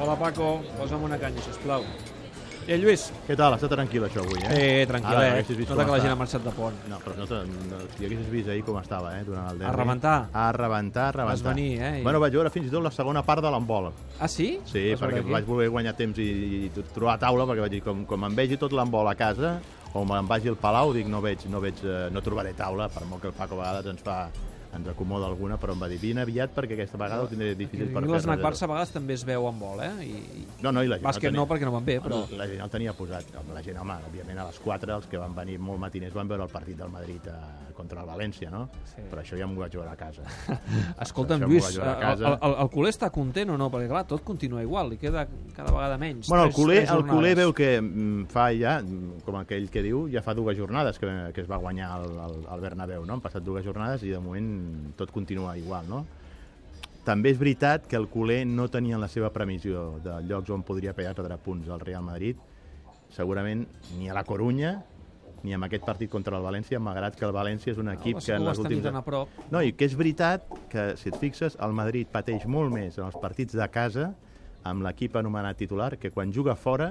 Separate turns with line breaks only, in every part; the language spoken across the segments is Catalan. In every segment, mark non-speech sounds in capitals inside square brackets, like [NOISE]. Hola, Paco, posa'm una canya, sisplau. Eh, Lluís?
Què tal? Està tranquil això avui, eh?
Eh, tranquil,
Ara,
eh?
haguessis vist
Nota
com
que la
està.
gent ha marxat de pont.
No, però no, te- no si haguessis vist ahir com estava, eh, durant el derbi.
A rebentar.
A rebentar, a rebentar.
Vas venir, eh, i-
Bueno, vaig veure fins i tot la segona part de l'embol.
Ah, sí?
Sí,
Vas
perquè
veure aquí?
vaig voler guanyar temps i, i trobar a taula, perquè vaig dir, com, com em vegi tot l'embol a casa, o me'n vagi al Palau, dic, no veig, no veig, eh, no trobaré taula, per molt que el Paco a vegades ens fa ens acomoda alguna, però em va dir, vine aviat perquè aquesta vegada ho tindré difícil per fer
L'Snac
reserva."
Barça a vegades també es veu amb vol, eh? I, i...
No, no, i la gent
Bàsquet
el
no, perquè no van bé, però-
No, la gent el tenia posat. Home, La gent, home, òbviament, a les 4, els que van venir molt matiners van veure el partit del Madrid eh, contra el València, no?
Sí.
Sí. Però això ja m'ho vaig veure a casa.
Escolta'm,
Això m'ho
Lluís,
vaig
eh,
veure a
el,
casa.
el, el culer està content o no? Perquè, clar, tot continua igual, li queda cada vegada menys.
Bueno, el
Doncs Tres-
culer,
tres
el
jornades.
culer veu que mm, fa ja, mm, com aquell que diu, ja fa dues jornades que, que es va guanyar el, el, el Bernabéu, no? Han passat dues jornades i de moment tot continua igual, no? També és veritat que el culer no tenia en la seva premissió de llocs on podria perdre punts al Real Madrid, segurament ni a la Corunya ni amb aquest partit contra el València, malgrat que el València és un equip
Barça
que en
ho
les
has tenit
últimes...
tan a prop.
No, i que és veritat que, si et fixes, el Madrid pateix molt més en els partits de casa amb l'equip anomenat titular que quan juga fora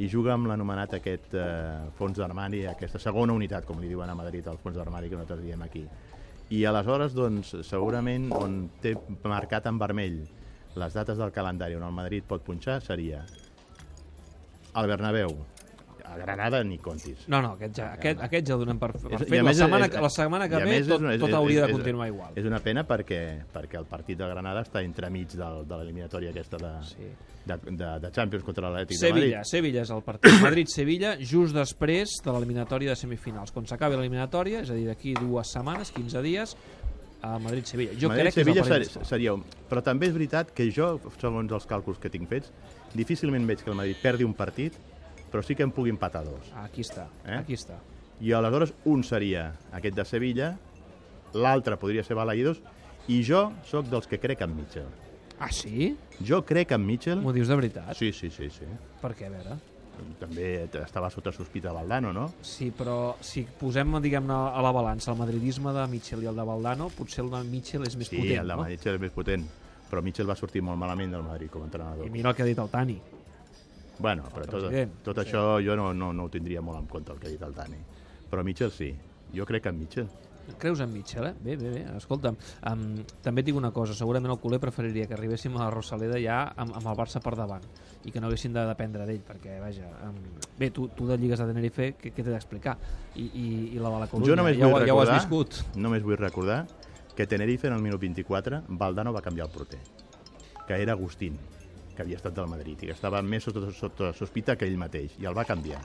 i juga amb l'anomenat aquest eh, fons d'armari, aquesta segona unitat, com li diuen a Madrid, el fons d'armari que nosaltres diem aquí. I aleshores, doncs, segurament on té marcat en vermell les dates del calendari on el Madrid pot punxar seria el Bernabéu, a Granada ni comptis.
No, no, aquest ja, aquest, aquest ja el donem per, per
És-
fet. La setmana, que- la setmana que
i a
ve
més és
tot,
una- és-
tot
és-
hauria de
és-
continuar igual.
És una pena perquè, perquè el partit de Granada està entremig del, de l'eliminatòria aquesta de,
Sí.
sí. de, de, de Champions contra l'Atlètic de Madrid.
Sevilla, Sevilla és el partit. [COUGHS] Madrid-Sevilla, just després de l'eliminatòria de semifinals. Quan s'acabi l'eliminatòria, és a dir, d'aquí dues setmanes, 15 dies, a Madrid-Sevilla. Jo crec que és el
Madrid-Sevilla
partit.
ser, seria un... Però també és veritat que jo, segons els càlculs que tinc fets, difícilment veig que el Madrid perdi un partit, però sí que en pugui empatar dos.
Ah, Aquí està,
Eh?
aquí està.
I aleshores un seria aquest de Sevilla, l'altre podria ser Balaidos, i jo sóc dels que crec en Mitchell.
Ah, sí?
Jo crec en Mitchell...
M'ho dius de veritat?
Sí, sí, sí, sí.
Per què, a veure?
també estava sota sospita Valdano, no?
Sí, però si posem, diguem-ne, a la balança el madridisme de Mitchell i el de Valdano, potser el de Mitchell és més
Sí,
potent,
el de
no?
Madrid era el més potent, però Mitchell va sortir molt malament del Madrid com a
I
entrenador.
mira el que ha dit el Tani.
Bueno, però tot,
president,
tot això jo no, no, no ho tindria molt en compte, el que ha dit el Dani. Però Mitchell sí, jo crec que en Mitchell.
Creus en Mitchell, eh? Bé, bé, bé. Escolta'm, um, també et dic una cosa. Segurament el culer preferiria que arribéssim a la Rosaleda ja amb, amb el Barça per davant i que no haguessin de dependre d'ell, perquè, vaja... Um, bé, tu, tu de Lligues de Tenerife, què, què t'he d'explicar? I, i, I la de la Corunya, eh?
jo només
ja,
vull
ho- ja ho has
recordar,
viscut.
només vull recordar que Tenerife en el minut 24 Valdano va canviar el porter, que era Agustín, que havia estat del Madrid i que estava més sota, sota sospita que ell mateix, i el va canviar.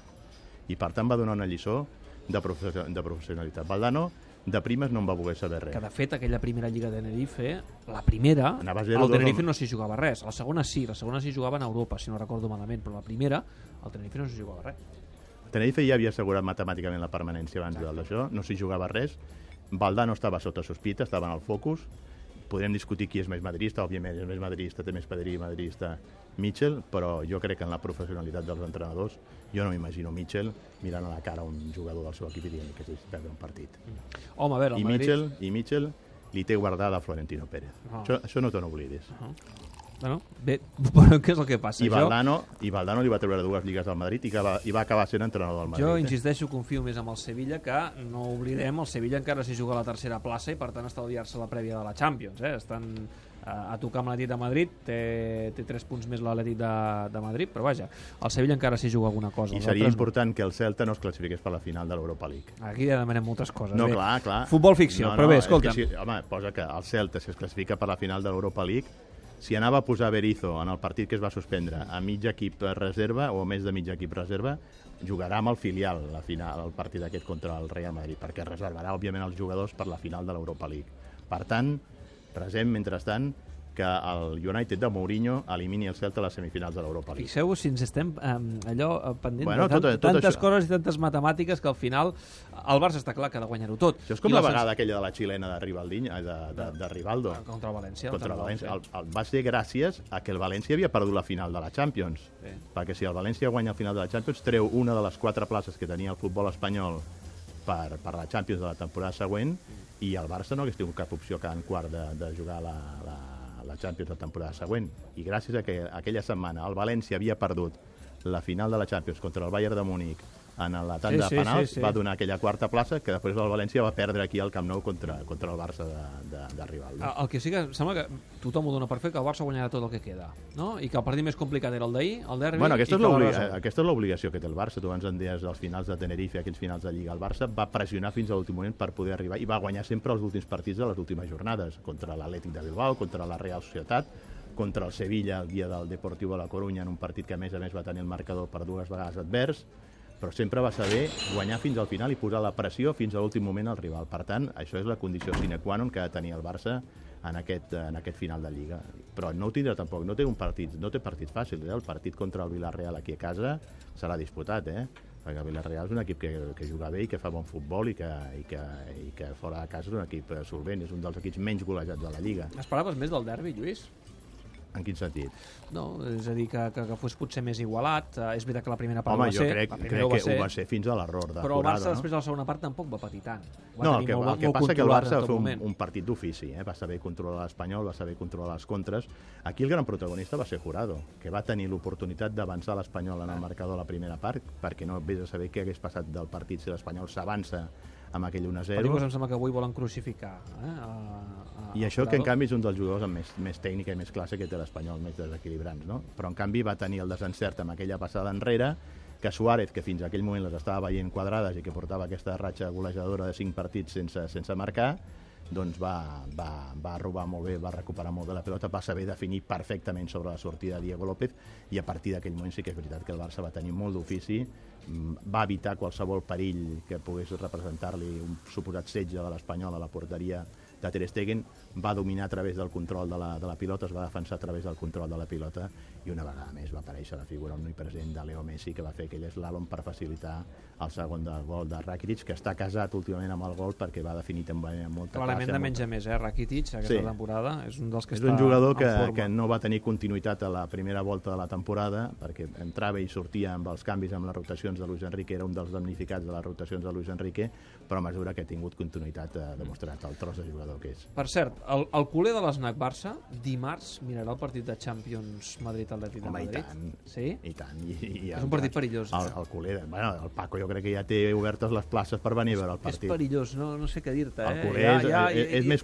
I per tant va donar una lliçó de, profe de professionalitat. Valdano de primes no en va voler saber res.
que de fet aquella primera lliga de Tenerife, la primera,
Anava a zero,
el
dos,
Tenerife
home.
no s'hi jugava res, la segona sí, la segona s'hi jugava en Europa, si no recordo malament, però la primera, el Tenerife no s'hi jugava res.
Tenerife ja havia assegurat matemàticament la permanència abans de- d'això, no s'hi jugava res, Valdano estava sota sospita, estava en el focus, podrem discutir qui és més madridista, òbviament és més madridista, té més padrí madridista Mitchell, però jo crec que en la professionalitat dels entrenadors jo no m'imagino Mitchell mirant a la cara un jugador del seu equip i dient que és perdre un partit.
Home, a veure, el
I
Madrid...
Mitchell, I Mitchell li té guardada a Florentino Pérez.
Ah.
Això, això no te n'oblidis.
Bueno, bé, [LAUGHS] però què és el que passa?
I,
jo,
Valdano, I Valdano li va treure dues lligues al Madrid i, que va, i va acabar sent entrenador del Madrid.
jo
eh?
insisteixo, confio més amb el Sevilla, que no oblidem, el Sevilla encara s'hi juga a la tercera plaça i per tant estalviar-se la prèvia de la Champions. Eh? Estan eh, a tocar amb l'Atlètic de Madrid, té, té 3 punts més l'Atlètic de, de Madrid, però vaja, el Sevilla encara s'hi juga alguna cosa.
I
els
seria
altres no.
important que el Celta no es classifiqués per la final de l'Europa League.
Aquí ja demanem moltes coses.
No,
bé.
clar, clar.
Futbol ficció, però bé,
és que
escolta'm.
Si, home, posa que el Celta, si es classifica per la final de l'Europa League, si anava a posar Berizzo en el partit que es va suspendre a mig equip reserva o a més de mig equip reserva, jugarà amb el filial la final, el partit aquest contra el Real Madrid, perquè reservarà, òbviament, els jugadors per la final de l'Europa League. Per tant, resem, mentrestant, que el United de Mourinho elimini el Celta a les semifinals de l'Europa League.
Fixeu-vos si ens estem um, allò eh, pendent
Bueno,
de tant,
tot- tot
tantes
això.
coses i tantes matemàtiques que al final el Barça està clar que ha de guanyar-ho tot.
Això és com
I
la
sens-
vegada aquella de la xilena de Rivaldinho, eh, de, de, de Rivaldo.
Contra el València.
contra el València. El, el, va ser gràcies a que el València havia perdut la final de la Champions.
Sí.
Sí. Perquè si el València guanya el final de la Champions, treu una de les quatre places que tenia el futbol espanyol per, per la Champions de la temporada següent i el Barça no hagués tingut cap opció que en quart de, de jugar la, la, la Champions la temporada següent. I gràcies a que aquella setmana el València havia perdut la final de la Champions contra el Bayern de Múnich en la tanda
Sí, sí,
de penals,
sí, sí.
va donar aquella quarta plaça que després el València va perdre aquí al Camp Nou contra, contra el Barça de, de, de Rivaldo.
Ah, El que sí que em sembla que tothom ho dona per fer que el Barça guanyarà tot el que queda, no? I que el partit més complicat era el d'ahir, el derbi...
Bueno,
i
aquesta és,
que va
l'obli-
resoldre.
aquesta és l'obligació que té el Barça. Tu abans en deies dels finals de Tenerife, aquells finals de Lliga. El Barça va pressionar fins a l'últim moment per poder arribar i va guanyar sempre els últims partits de les últimes jornades, contra l'Atlètic de Bilbao, contra la Real Societat, contra el Sevilla el dia del Deportivo de la Corunya, en un partit que a més a més va tenir el marcador per dues vegades advers, però sempre va saber guanyar fins al final i posar la pressió fins a l'últim moment al rival. Per tant, això és la condició sine qua non que ha de tenir el Barça en aquest, en aquest final de Lliga. Però no ho tindrà tampoc, no té un partit, no té partit fàcil. Eh? El partit contra el Villarreal aquí a casa serà disputat, eh? perquè el Villarreal és un equip que, que juga bé i que fa bon futbol i que, i que, i que fora de casa és un equip eh, solvent, és un dels equips menys golejats de la Lliga.
Esperaves més del derbi, Lluís?
En quin sentit?
No, és a dir, que, que, que fos potser més igualat. Eh, És veritat que la primera part
Home,
ho va
jo
ser.
crec,
la
crec
primera
que
ho va ser,
ho va ser fins a l'error de
Però el
Jurado,
Barça,
no?
després de la segona part, tampoc va patir tant. Va
No, el
tenir
que,
molt,
el que
molt
passa que el
controlat
Barça
en
va
tot
fer un,
moment.
un partit d'ofici, eh? va saber controlar l'Espanyol, va saber controlar les contres. Aquí el gran protagonista va ser Jurado, que va tenir l'oportunitat d'avançar l'Espanyol en el marcador a la primera part, perquè no vés a saber què hagués passat del partit si l'Espanyol s'avança amb aquell 1-0.
Pericos em sembla que avui volen crucificar. Eh? A, a,
I això
a
que,
Jurado.
en canvi, és un dels jugadors amb més, més tècnica i més classe que té l'Espanyol, més desequilibrants, no? Però, en canvi, va tenir el desencert amb aquella passada enrere, que Suárez, que fins a aquell moment les estava veient quadrades i que portava aquesta ratxa golejadora de 5 partits sense, sense marcar, doncs va, va, va robar molt bé, va recuperar molt bé la pelota, va saber definir perfectament sobre la sortida de Diego López i a partir d'aquell moment sí que és veritat que el Barça va tenir molt d'ofici, mm, va evitar qualsevol perill que pogués representar-li un suposat setge de l'Espanyol a la porteria de Ter Stegen va dominar a través del control de la, de la pilota, es va defensar a través del control de la pilota i una vegada més va aparèixer la figura omnipresent de Leo Messi que va fer aquell slalom per facilitar el segon del gol de Rakitic que està casat últimament amb el gol perquè va definir també amb molta
Clarament
classe.
de
amb
menys a més, eh? Rakitic, aquesta
Sí.
temporada, és un dels que
és
està
un jugador
en
que,
forma.
que no va tenir continuïtat a la primera volta de la temporada perquè entrava i sortia amb els canvis amb les rotacions de Luis Enrique, era un dels damnificats de les rotacions de Luis Enrique, però a mesura que ha tingut continuïtat ha demostrat el tros de jugador que és.
Per cert, el, el culer de l'Snac Barça dimarts mirarà el partit de Champions Madrid-Atlètic de
Home, i
Madrid.
tant.
Sí?
I tant. I, i, i
És un partit perillós,
El, el, culer, bueno, el Paco jo crec que ja té obertes les places per venir a veure el
És
partit.
perillós, no, no sé què dir-te.
El
eh?
culer és, és, és més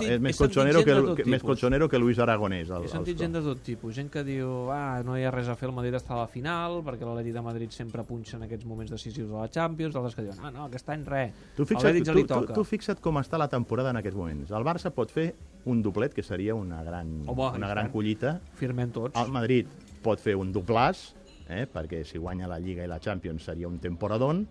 he sentit-
és
he
més
sentit
colchonero
gent
que,
de
el-
tot
que, més
tipus.
colchonero que Luis Aragonès. El,
He sentit gent de tot tipus, gent que diu ah, no hi ha res a fer, el Madrid està a la final perquè l'Atlètic de Madrid sempre punxa en aquests moments decisius de la Champions, d'altres que diuen ah, no, aquest any res,
Tu fixa't,
l'Atlètic ja
tu,
li
tu,
toca.
tu fixa't com està la temporada en aquests moments. El Barça pot fer un doplet, que seria una gran,
Home,
una
i
gran
tant.
collita,
Firmem tots.
El Madrid pot fer un doblàs, eh, perquè si guanya la Lliga i la Champions seria un temporadón,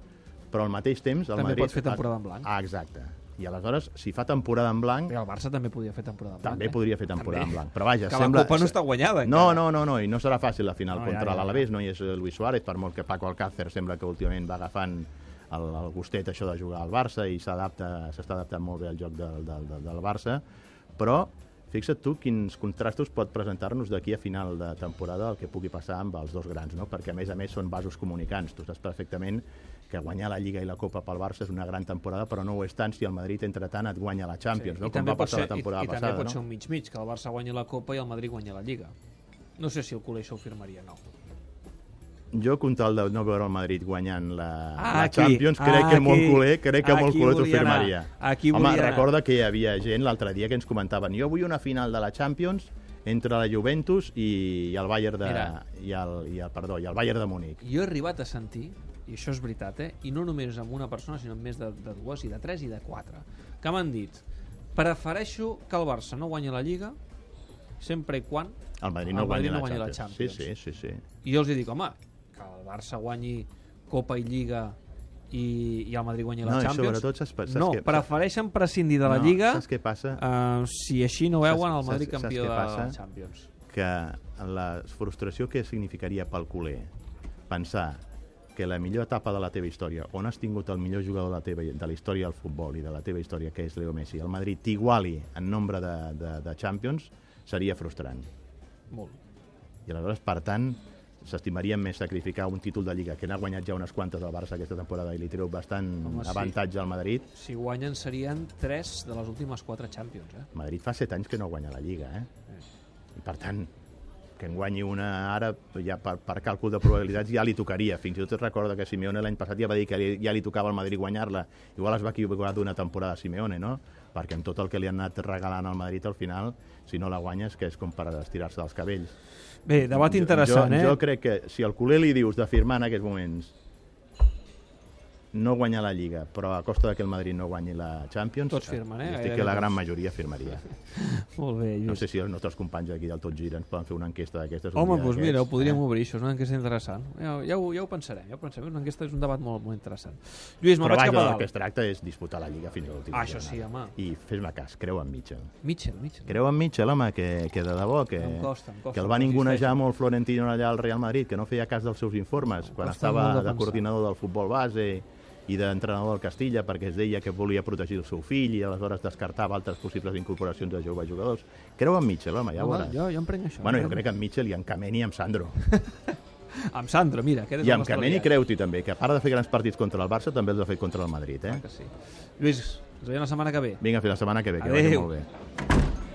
però al mateix temps... El
També
Madrid
pot fer temporada en blanc.
Ah, exacte. I aleshores, si fa temporada en blanc,
Bé, el Barça també podia fer temporada en blanc.
també
eh?
podria fer temporada
També.
en blanc. Però vaja,
Que
sembla...
la Copa no està guanyada.
No, no, no, no, i no serà fàcil la final
No,
no,
ja,
contra
ja, ja.
l'Alavés, no hi és eh, Luis Suárez, per molt que Paco Alcácer sembla que últimament va agafant el, el gustet això de jugar al Barça i s'adapta s'està adaptant molt bé al joc del, del, del, del Barça, però fixa't tu quins contrastos pot presentar-nos d'aquí a final de temporada el que pugui passar amb els dos grans, no? perquè a més a més són vasos comunicants, tu saps perfectament que guanyar la Lliga i la Copa pel Barça és una gran temporada, però no ho és tant si el Madrid entre tant et guanya la Champions, no?
I
com
també
va
pot
passar la
ser-
temporada
i, i
passada.
també pot
no?
ser un mig-mig, que el Barça guanyi la Copa i el Madrid guanyi la Lliga. No sé si el culer això ho firmaria, no.
Jo, comptant de no veure el Madrid guanyant la,
Ah,
la
aquí, Ah,
Champions, crec que
aquí, Ah,
molt culer, crec que molt
aquí
culer t'ho
volia anar,
firmaria.
aquí
Home,
volia anar.
recorda que hi havia gent l'altre dia que ens comentaven jo vull una final de la Champions entre la Juventus i, i el Bayern de...
Mira.
I el, i el, perdó, i el Bayern de Múnich.
Jo he arribat a sentir, i això és veritat, eh? i no només amb una persona, sinó amb més de, de dues, i de tres, i de quatre, que m'han dit prefereixo que el Barça no guanyi la Lliga sempre i quan
El Madrid
El
no,
Madrid
guanya,
no
la
guanya la
Champions.
Champions.
Sí, sí, sí, sí.
i jo els hi dic, home, que el Barça guanyi Copa i Lliga i, i el Madrid guanyi la
No, i
Champions
sobretot saps per- saps
no,
què-
prefereixen prescindir de la
No,
Lliga
saps què passa?
eh, si així no veuen el
Saps-
Madrid
saps-
campió
saps
de
què
la
passa?
Champions
que la frustració que significaria pel culer pensar que la millor etapa de la teva història, on has tingut el millor jugador de la, teva, de la història del futbol i de la teva història, que és Leo Messi, el Madrid t'iguali en nombre de, de, de Champions, seria frustrant.
molt
I aleshores, per tant, s'estimaria més sacrificar un títol de Lliga, que n'ha guanyat ja unes quantes al Barça aquesta temporada i li treu bastant
Home, sí.
avantatge al Madrid.
si guanyen serien 3 de les últimes 4 Champions eh?
Madrid fa set anys que no guanya la Lliga, eh? Per tant, que en guanyi una ara, ja per, per càlcul de probabilitats, ja li tocaria. Fins i tot recorda que Simeone l'any passat ja va dir que li, ja li tocava al Madrid guanyar-la. Igual es va equivocar d'una temporada a Simeone, no? Perquè amb tot el que li han anat regalant al Madrid al final, si no la guanyes, que és com per estirar-se dels cabells.
Bé, debat interessant,
jo,
eh?
Jo crec que si al culer li dius de firmar en aquests moments no guanyar la Lliga, però a costa de que el Madrid no guanyi la Champions,
Tots firmen, eh?
jo
Gairebé
estic que la gran
tots.
majoria firmaria.
Molt bé, Lluís.
No sé si els nostres companys d'aquí del Tot Gira ens poden fer una enquesta d'aquestes. un eh?
Home,
dia
doncs mira, ho
d'aquests,
podríem obrir, això és una enquesta interessant. Ja, ja, ho, ja ho pensarem, ja ho pensarem. Una enquesta és un debat molt, molt interessant. Lluís, me'n
Però
vaig
vaja,
cap a
del que es
dalt.
tracta és disputar la Lliga fins a l'últim.
Ah, això sí, home.
I fes-me cas, creu en Mitchell.
Mitchell, Mitchell.
Creu en Mitchell, home, que, que de debò, que,
Em costa, em costa,
que el va
no
ningunejar
existeix.
molt Florentino allà al Real Madrid, que no feia cas dels seus informes quan
costa
estava
molt de
de,
pensar.
coordinador del futbol base i d'entrenador del Castilla perquè es deia que volia protegir el seu fill i aleshores descartava altres possibles incorporacions de joves jugadors. Creu en Mitchell, home, ja ho
Home,
veuràs.
jo, jo em prenc això.
Bueno,
em
jo
prenc-
crec que en Mitchell i en Kameni i en Sandro.
Amb Sandro, mira, aquest és
I
el
en
nostre
Kameni
aliat.
creu-t'hi també, que a part de fer grans partits contra el Barça, també els ha fet contra el Madrid, eh?
Que sí. Lluís, ens veiem la setmana que ve.
Vinga, fins la setmana que ve, que vagi
Adéu.
molt bé.